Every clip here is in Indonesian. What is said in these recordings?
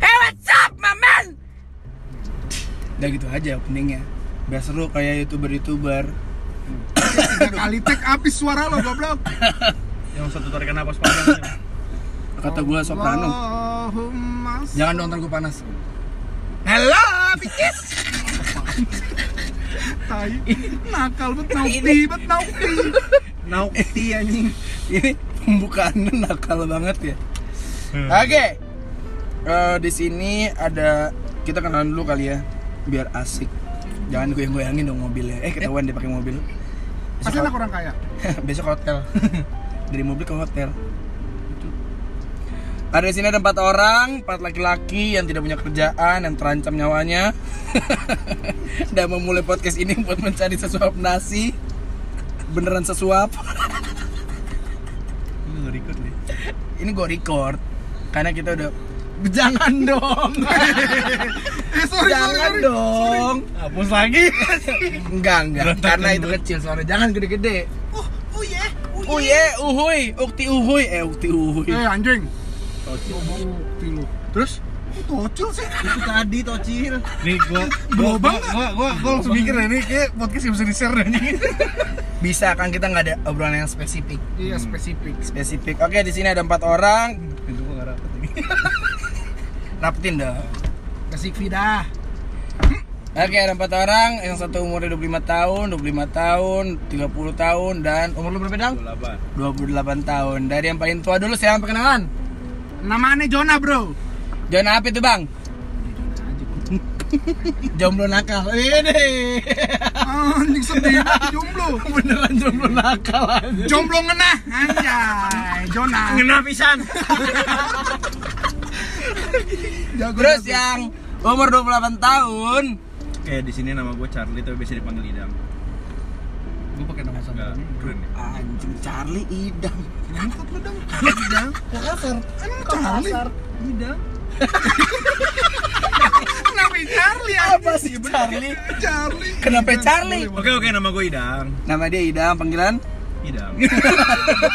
Hey, what's up, my man? Udah gitu aja openingnya Biar seru kayak youtuber-youtuber Tiga kali take habis suara lo goblok. yang satu tarikan napas panjang Kata gue Oh, soprano Ya. Allahumma s- Jangan dong ntar gue panas Hello, bitches. tai. Nakal bet Nah, naupi bet naupi. naukti anjing Ini pembukaannya nakal banget ya Oke Eh, Di sini ada Kita kenalan dulu kali ya Biar asik Jangan goyang-goyangin dong mobilnya Eh ketahuan dia pakai mobil Pasti anak orang kaya. besok hotel dari mobil ke hotel ada di sini ada empat orang empat laki-laki yang tidak punya kerjaan yang terancam nyawanya dan memulai podcast ini buat mencari sesuap nasi beneran sesuap lu nggak record nih ini gue record karena kita udah jangan dong Eh sorry jangan sorry sorry. dong hapus lagi enggak enggak karena itu kecil soalnya jangan gede-gede Oh, oh yeah. Oh yeah. uye uhuy ukti uhuy eh ukti uhuy Eh anjing. Tocil. Bukti lu. terus Kok Tocil sih. itu tadi tocil nih gua gua Belobang gua gua, gua, gua langsung mikir deh, ini kayak podcast yang bisa di share anjing bisa kan kita nggak ada obrolan yang spesifik Iya spesifik. spesifik oke di sini ada empat orang itu gua nggak rapet ini rapetin dong Kasih vida. oke ada empat orang yang satu umurnya 25 tahun 25 tahun 30 tahun dan umur lu berapa dong 28 tahun dari yang paling tua dulu silahkan perkenalan Namanya Jonah bro. John apa itu bang jomblo nakal ini Anjing sedih jomblo. beneran jomblo nakal aja Jomblo ngenah anjay. Jonah. kena pisan Jago, terus ya, jago. yang umur 28 tahun oke di sini nama gua Charlie tapi biasa dipanggil Idam Gua pakai nama Nggak, samaran. keren ya anjing Charlie idam Ngangkat lu dong. Idang. Makassar. Emang Charlie. Idang. Kenapa Charlie? apa sih Charlie Charlie. Kenapa Charlie? oke oke nama gua Idam nama dia idam panggilan Idam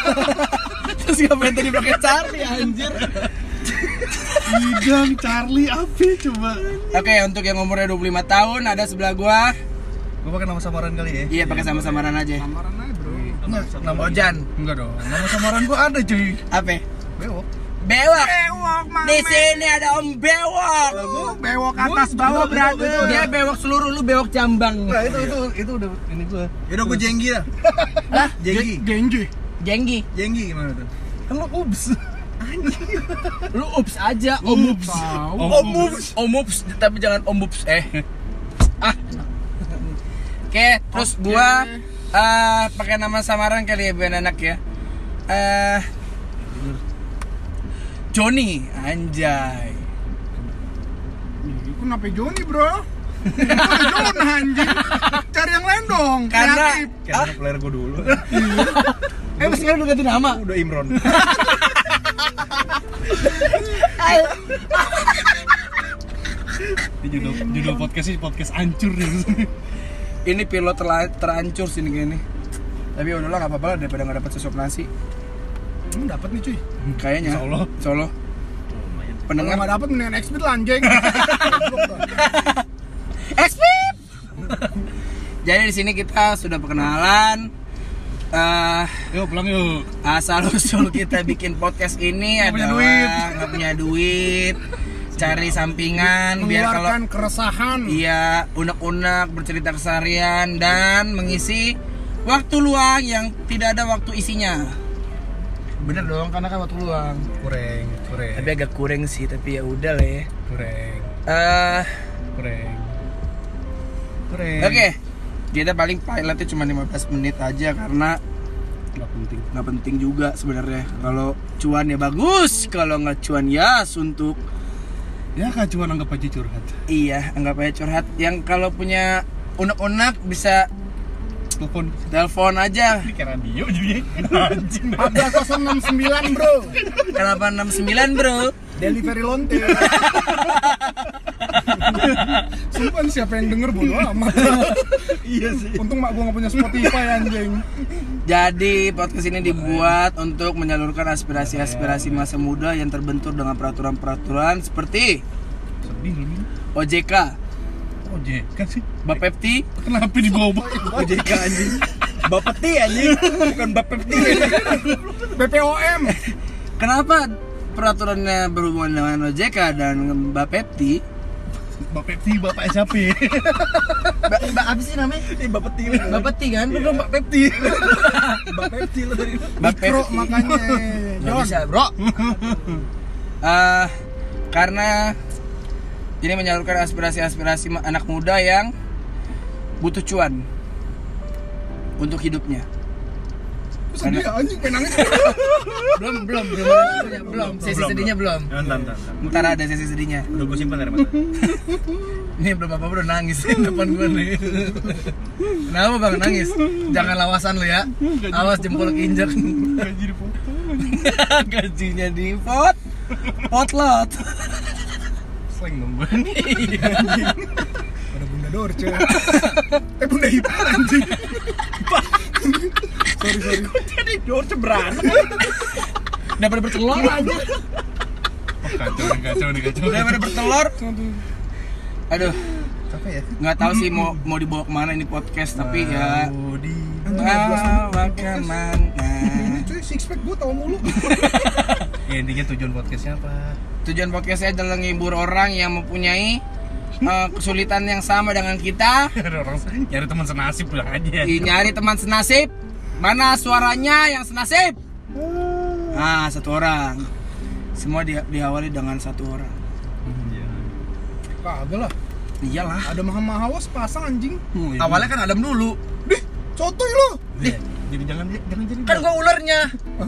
Terus ngapain tadi pakai Charlie anjir Idang Charlie apa coba? Oke untuk yang umurnya 25 tahun ada sebelah gua gua pakai nama samaran kali ya Iya pakai sama-samaran aja Samaran aja bro. Nama Nama samaran. Ojan enggak dong Nah, nama samaran gua ada cuy Apa? bewok Bewok Bewok mama. Di sini ada om Bewok Gua Bewok atas bawah brother. Dia bewok seluruh, lu bewok jambang Nah, itu itu itu udah ini gua. Yaudah gua jenggi dah. Hah? Jenggi. Genji. Jenggi Jenggi gimana tuh? Lu ups Lu ups aja, om ups Tahu. Om Om Ups. ups Om ups, tapi jangan om ups eh Ah Oke, terus gua eh pakai nama samaran kali ya biar enak ya eh Joni, anjay Ih, Kenapa Joni bro? Kenapa Jonah anjing? Cari yang lain dong. Karena kreatif. Kayak nama player gua dulu. Eh, emang sekarang udah ganti nama? udah Imron. Ini judul judul podcast sih podcast ancur nih. Ini pilot terla- terancur sini gini Tapi ya udahlah gak apa-apa lah daripada gak dapet sesuap nasi Hmm, dapat nih cuy. Kayaknya Insya Allah. Insya Allah. Kalau Pendengar nggak dapat mendingan expert lah anjing. Expip. Jadi di sini kita sudah perkenalan. eh Yuk pulang yuk. asal usul kita bikin podcast ini Nggak punya adalah duit. nggak punya duit, cari sampingan biar kalau Mengeluarkan keresahan. iya unek-unek bercerita keseharian dan mengisi waktu luang yang tidak ada waktu isinya. Bener dong karena kan waktu luang. Kureng, kureng, Tapi agak kurang sih tapi ya udah lah ya. kureng, Eh, kureng. Kureng. Oke. Kita paling pilotnya cuma 15 menit aja karena Nggak penting. nggak penting juga sebenarnya kalau cuan ya bagus kalau nggak cuan ya suntuk Ya kan cuma anggap aja curhat. iya anggap aja curhat yang kalau punya unek-unek bisa Telepon. telepon aja Ini kayak radio jadinya. Anjing. 14069 bro. 869 bro Delivery lonte. Sumpah nih siapa yang denger bodo amat Iya sih. Untung mak gua gak punya Spotify anjing Jadi podcast ini dibuat untuk menyalurkan aspirasi-aspirasi masa muda yang terbentur dengan peraturan-peraturan seperti Sedih lu nih. OJK, Oh, OJK sih. Bapepti, Kenapa dibawa? OJK anjing. Bapepti anjing, bukan Bapepti. BPOM Kenapa peraturannya berhubungan dengan OJK dan Bapepti? Bapak Pepti, Bapak SHP. Mbak, mbak apa sih namanya? Eh, Bapak Pepti. Mbak Peti kan? Lu Mbak Pepti. Mbak Pepti lu tadi. Mikro Bapepti. makanya Gak bisa bro Eh, karena ini menyalurkan aspirasi-aspirasi ma- anak muda yang butuh cuan untuk hidupnya. Aku sedih anjing pengen nangis Belum, belum, belum Belum, sesi sedihnya belum Entar, entar, entar. Ntar ada sesi sedihnya. Udah gue simpan dari mata. Ini belum apa-apa udah nangis di depan gue nih. Kenapa bang nangis? Jangan lawasan lo ya. Awas jempol injak. Gaji dipotong. Gajinya di pot. Potlot. Slang dong gue. Ada Bunda Dorce Eh Bunda Ipah anjing Sorry sorry Jadi dor cebran. Daripada bertelur aja. Iya. Oh, kacau nih, kacau nih, kacau. Daripada bertelur. Aduh. Aduh, Apa ya? nggak tahu sih mau mau dibawa kemana ini podcast tapi ya Mau di bawa kemana Ini cuy six pack gua tau mulu Ya, intinya tujuan podcastnya apa? tujuan podcast saya adalah menghibur orang yang mempunyai eh, kesulitan yang sama dengan kita Ada orang nyari teman senasib pulang aja. Ih, nyari teman senasib mana suaranya yang senasib ah satu orang semua di- diawali dengan satu orang Iya. Kagak lah iyalah Ada maha-maha pasang anjing Awalnya kan Adam dulu Dih cotoy lu Iya. Jadi jangan jangan jadi. Kan gua ulernya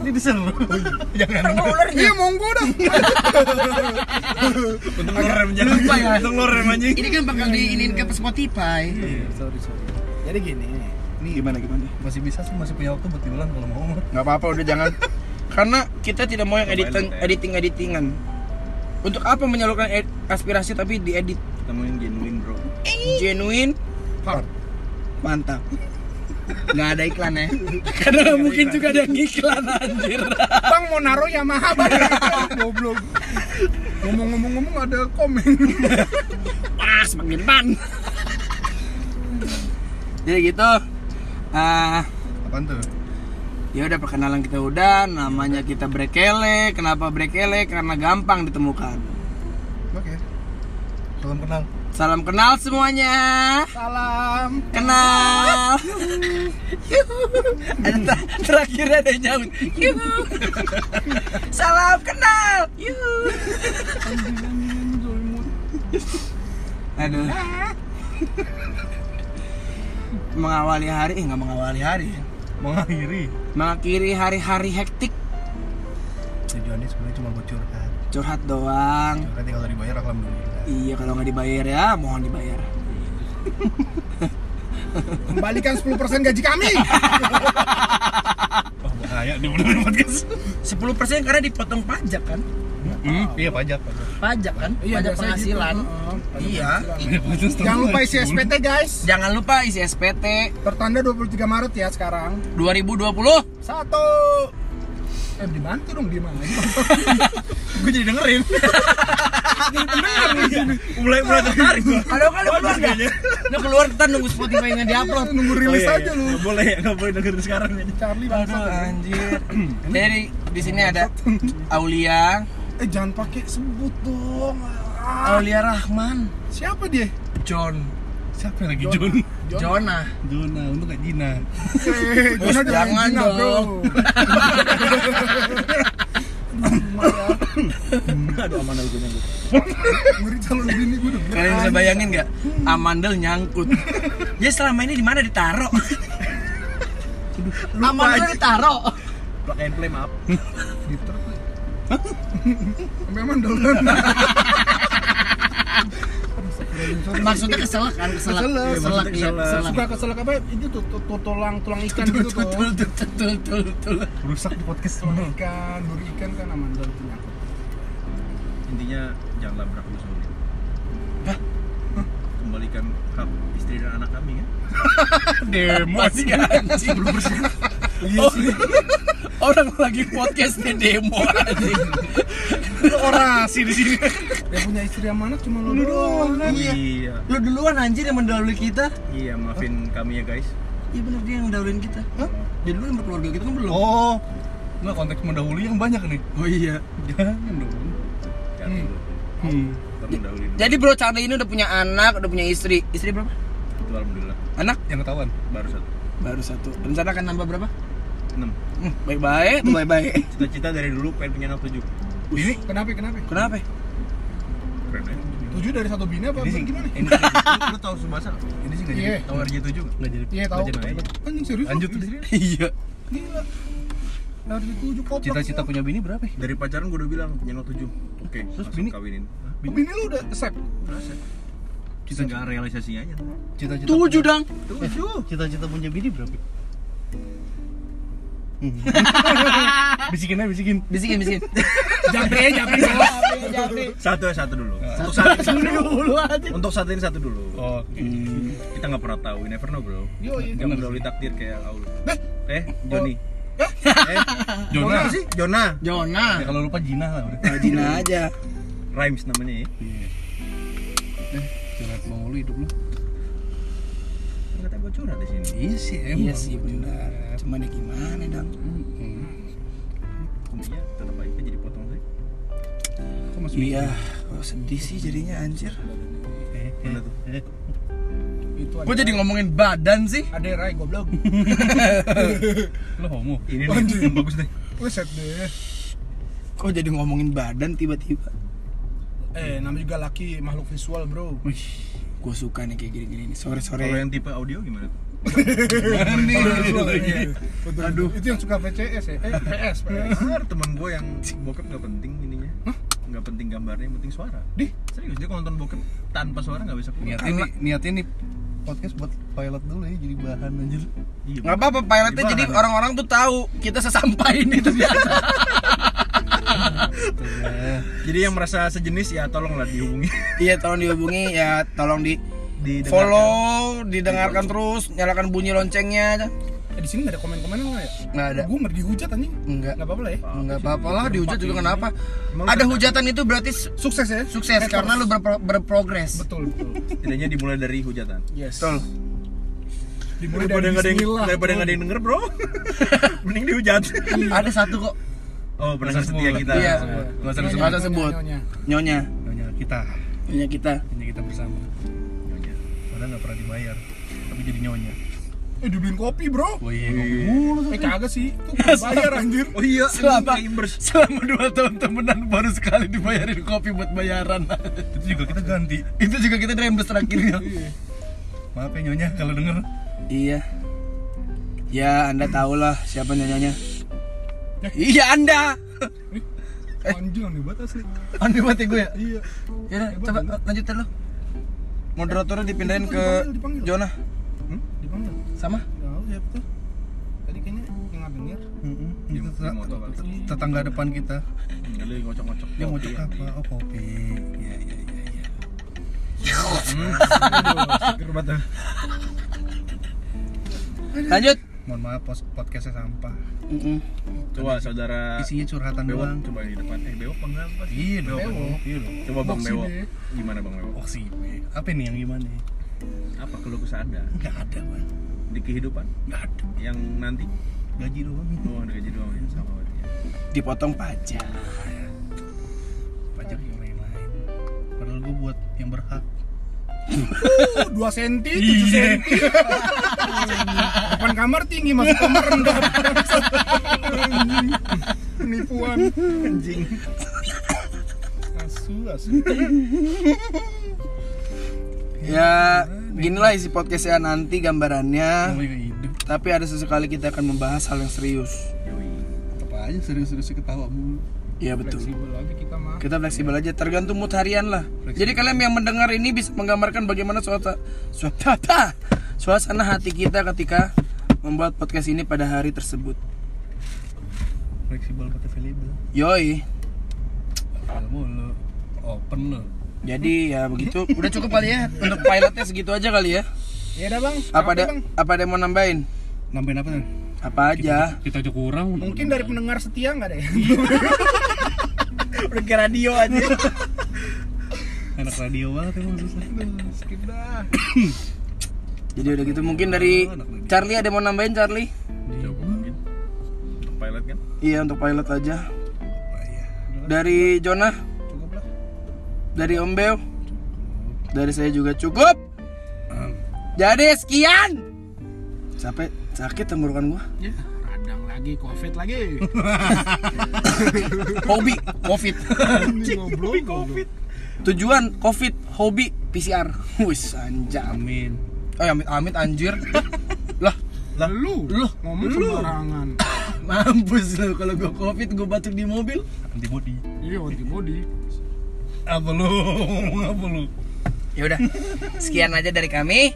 ini diseru. Jangan. Kan gua ulernya Iya monggo dah Untung lu rem jangan. Lupa ya. Untung lu rem anjing. Ini kan Iya, bakal diinin ke Spotify Iya, Sorry, sorry. Jadi gini gimana gimana Masih bisa sih, masih punya waktu buat diulang kalau mau. nggak apa-apa udah jangan karena kita tidak mau yang Coba editing edit ya. editing editingan untuk apa menyalurkan ed- aspirasi tapi diedit Temuin genuine, Bro. genuine Hard. mantap nggak ada iklan ya karena nggak mungkin juga ada yang iklan anjir Bang mau naruh Yamaha bang Goblok Ngomong-ngomong-ngomong ada komen pas makin pan jadi gitu ah Apaan tuh? ya udah perkenalan kita udah namanya kita brekele kenapa brekele karena gampang ditemukan Oke. Salam kenal. salam kenal semuanya Salam kenal Yuhu. ada ter- terakhirnya ada yang nyaut Yuhu. salam kenal Yuhu. aduh mengawali hari eh nggak mengawali hari ya. Mengakhiri. mengakhiri hari-hari hektik Tujuannya sebenarnya cuma buat curhat. curhat doang Curhat ya kalau dibayar alhamdulillah. iya kalau nggak dibayar ya mohon dibayar Kembalikan 10% gaji kami Iya, Iya, Wah, Oh, bahaya diulang podcast. 10% karena dipotong pajak kan Hmm, iya pajak, pajak. Pajak kan? Pajak biasanya penghasilan gitu. Heeh. iya Jangan lupa isi SPT guys jangan lupa isi SPT Tertanda 23 Maret ya sekarang 2020 Satu Eh dibantu dong di mana Gue jadi dengerin. mulai mulai tertarik gue. ada kan lu keluar nggak? lu keluar kita nunggu Spotify nya diupload Nunggu rilis aja lu Iya, Nggak boleh, nggak boleh dengerin sekarang. Charlie Oh, iya, aduh bangsa anjir jadi di sini ada Aulia Eh jangan pakai sebut dong Ah, Aulia Rahman Siapa dia? Eh, John Siapa yang lagi Jun? Jonah Juna, untuk gak Jina. Eh, Bos, Jonah dari jangan Cina, bro. dong. Aduh aman aku nyangkut. Ngeri calon bini gue dong. kalian bisa bayangin nggak amandel nyangkut dia selama ini di mana ditaruh Aman lu ditaro Plug and play maaf. Sampai emang dolan. Maksudnya keselak kan? Keselak Keselak, Keselak, maksudnya iya keselak. keselak Suka keselak apa? Itu tuh tuh- tuh tulang tulang ikan gitu tuh. tul tul tul tul tul Rusak di podcast Tulang ikan, duri ikan kan aman dolan punya. Intinya jangan labrak musuh. Hah? mengembalikan hak istri dan anak kami ya. demo sih anjing orang lagi podcast di demo anjing orasi di sini. Yang punya istri sama anak cuma lu doang. kan? Iya, Lu duluan anjir yang mendahului kita. iya maafin kami ya guys. Iya bener dia yang mendahuluin kita. Hah? Dia dulu yang berkeluarga kita kan belum. Oh, nggak konteks mendahului yang banyak nih. oh iya Jangan dong. Jangan dulu. hmm. Kita mendahului dulu. jadi bro Charlie ini udah punya anak udah punya istri istri berapa Itu alhamdulillah anak yang ketahuan baru satu baru satu rencana akan nambah berapa enam. hmm, baik baik baik baik Cita-cita dari dulu pengen punya anak tujuh. Bini, kenapa kenapa? kenapa Keren ya. Tujuh dari satu bini apa Ini sih eh, gimana? Ini sih- lu tahu Subasa? Ini sih nggak jadi. Iya. Tahu RJ7 nggak jadi. Iya tahu. nggak jadi. Anjing serius. lu? Lanjut tuh. iya Gila. Harus tujuh kotak. Cita-cita punya punya. bini berapa ya? Dari pacaran gue udah bilang punya anak tujuh. Oke, Terus langsung bini? kawinin. Hah, Bini lu udah sep. Berasa. Kita nggak realisasinya aja. Cita-cita tujuh dong Tujuh. Cita-cita punya bini berapa? Bisikin aja bisikin. Bisikin bisikin. japri japri Satu ya satu dulu. Untuk saat ini satu dulu. Dulu aja. Untuk saat ini satu dulu. Oh. Kita nggak pernah tahu. We never know bro. Yo, iya. Nggak mendahului takdir kayak Aul. Eh, Joni. Oh. Eh, Jona. Jona sih? Jona. Jona. kalau lupa Jina lah. udah. Jina aja Rhymes namanya ya. Iya. Eh, curhat mau hidup lu Nggak tahu gue curhat di sini. iya sih iya sih benar cuman ya gimana dong Kuminya tetap aja jadi potong sih. iya kok sedih sih jadinya anjir Eh, Mana tuh? Itu Kok jadi ngomongin badan sih? Ada Rai goblok. Lo homo. Ini nih, yang bagus nih. Wes set deh. Kok jadi ngomongin badan tiba-tiba? Eh, namanya juga laki makhluk visual, Bro. Wih, gue suka nih kayak gini-gini nih. Sore-sore. Kalau yang tipe audio gimana? tuh? iya. Aduh. Itu yang suka VCS ya? Eh, PS, PS. Benar, teman gue yang bokep nggak penting ininya. Nggak penting gambarnya, yang penting suara. Dih. serius dia kalau nonton bokep tanpa suara nggak bisa keluar. Iya, Karena- Niatnya nih podcast buat pilot dulu ya jadi bahan anjir. Iya. Nggak apa-apa pilotnya Gimana jadi nih? orang-orang tuh tahu kita sesampaian itu dia. Jadi yang merasa sejenis ya tolonglah dihubungi. Iya, tolong dihubungi ya, tolong di Di follow, didengarkan terus, nyalakan bunyi loncengnya. Eh, di sini nggak ada komen-komenan nggak ya? Nggak ada. Gue merdi hujat anjing. Enggak. Nggak apa-apa lah ya. Enggak apa-apa lah dihujat juga kenapa? Eh, Emang Ada lu- hujatan itu berarti su- Sukses ya. sukses Haters. karena lu berpro- berprogres. Betul, betul. Tidaknya dimulai dari hujatan. Yes. Betul. Dimulai Daripada dari nggak ada yang bismillah. daripada nggak ada yang denger bro, mending dihujat. Ada satu kok Oh pendengar Masa setia semua. kita. Iya. Nggak usah Nyonya, disebut. Nggak usah nyonya, sebut. nyonya. nyonya, Hanya kita, nyonya kita. hanya kita bersama. Nyonya. Padahal nggak pernah dibayar, tapi jadi nyonya. Eh, dibeliin kopi, Bro. Oh iya, Eh, kagak sih. Itu bayar anjir. Oh iya, Selama- gamers. selama dua tahun temenan baru sekali dibayarin kopi buat bayaran. Itu juga kita ganti. Itu juga kita drembes terakhirnya. Maaf ya nyonya kalau denger. Iya. Ya, Anda tahulah siapa nyanyanya. Ya. Iya, Anda. Anjir, aneh banget asli. Anda mati gue ya. Iya. Ya, udah, coba lanjutin lo. Moderatornya dipindahin ke Dipanggil, dipanggil. Jonah Hmm? Dipanggil. sama Nggak tahu siapa tuh. Tadi kayaknya yang ya. nggak denger. Mm-mm. Dia Itu mau tet- tahu kan? tetangga depan kita. Nggak ada yang ngocok-ngocok. Dia mau Kopi. cek apa? Oh kopi. Iya iya iya. iya. Hmm. Seger banget. Lanjut. Mohon maaf pos- podcastnya sampah. Mm-mm. Coba saudara Isinya curhatan Bewok doang. coba di depan. Eh Bewok apa enggak apa sih? Iya dong. Bewok. Iya dong. Coba Bang Boksi Bewok. deh. Gimana Bang Bewok? Oh sih, apa nih yang gimana? Apa keluh kesah Anda Nggak ada bang. di kehidupan Nggak ada. yang nanti? Gaji doang. Oh, ada gaji doang ya sama berarti ya. Dipotong pajak. Pajak yang lain-lain. Padahal gue buat yang berhak. Uh, 2 senti, 7 Iya. senti. Depan kamar tinggi, masuk kamar rendah. Anjing. Penipuan. Anjing. Asu, asu. Ya, ginilah isi podcastnya nanti gambarannya. Namanya Ah, iya, hidup. Tapi ada sesekali kita akan membahas hal yang serius. Yoi. Apa aja serius-serius ketawa mulu. Iya betul. Fleksibel aja kita mah. Kita fleksibel aja, tergantung mood harian lah. Jadi kalian yang mendengar ini bisa menggambarkan bagaimana suata, suata, suasana hati kita ketika membuat podcast ini pada hari tersebut. Fleksibel pakai available. Yoi, Available mulu. Open lo. Jadi ya begitu. Udah cukup kali ya untuk pilotnya segitu aja kali ya. Ya udah bang. Apa Oke, ada Bang. apa ada yang mau nambahin? Nambahin apa tuh? Apa aja? Kita aja kurang. Mungkin dari pendengar setia nggak ada ya? Udah kayak radio aja. anak radio banget emang susah. Skip dah. Jadi udah gitu mungkin dari Charlie ada yang mau nambahin Charlie? Coba mungkin. Untuk Pilot kan? Iya untuk pilot aja. Dari Jonah? Dari Ombeo? Dari saya juga cukup. Jadi sekian. Sampai sakit tenggorokan gua. Ya, radang lagi, covid lagi. Hobi COVID. Ini Ngobrol covid. Tujuan COVID hobi PCR. Wis anjam. Amin. Oh amit amit anjir. lah Lu, Lu. ngomong sembarangan. mampus lu kalau gua COVID gua batuk di mobil. Antibody. Iya, antibody. Apa lu? Ngomong apa lu? ya udah sekian aja dari kami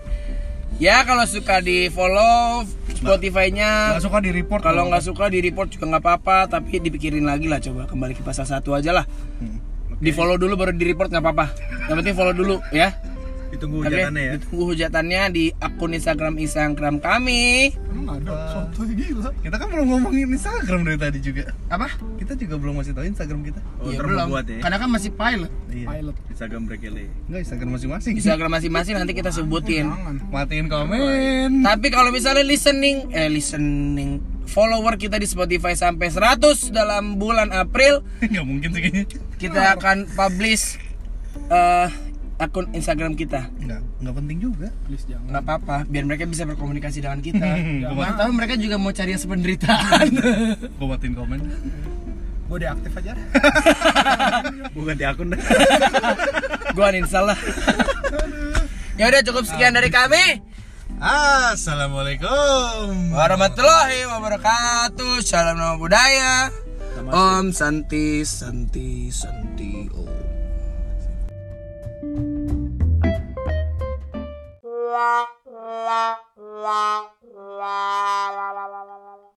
ya kalau suka di follow Spotify-nya Gak suka di report. kalau nggak suka di report juga nggak apa-apa tapi dipikirin lagi lah coba kembali ke pasal satu aja lah di follow dulu baru di report nggak apa-apa yang penting follow dulu ya Ditunggu Tapi hujanannya ya. ditunggu hujatannya di akun Instagram Instagram kami Emang nggak ada, sotoy gila. Kita kan belum ngomongin Instagram dari tadi juga. Apa? Kita juga belum ngasih tahu Instagram kita. Oh, Ya ntar belum. mau buat ya. Karena kan masih pilot. Iya. Pilot. Instagram Brekele. Enggak Instagram masing-masing. Instagram masing-masing nanti kita sebutin Jangan. Matiin komen. tapi kalau misalnya listening eh listening follower kita di Spotify sampai 100 dalam bulan April Enggak mungkin sih kayaknya. kita akan publish eh, akun Instagram kita Enggak, enggak penting juga. Please jangan. nggak apa-apa biar mereka bisa berkomunikasi dengan kita Gua Mana tahu mereka juga mau cari yang sependeritaan. mat- gua matiin komen. Gue deaktif aja. deh. Bukan di akun dah. gua uninstall lah ya udah cukup sekian dari kami Assalamualaikum. warahmatullahi wabarakatuh salam nama budaya Om Santi Oh. Santi Santi Om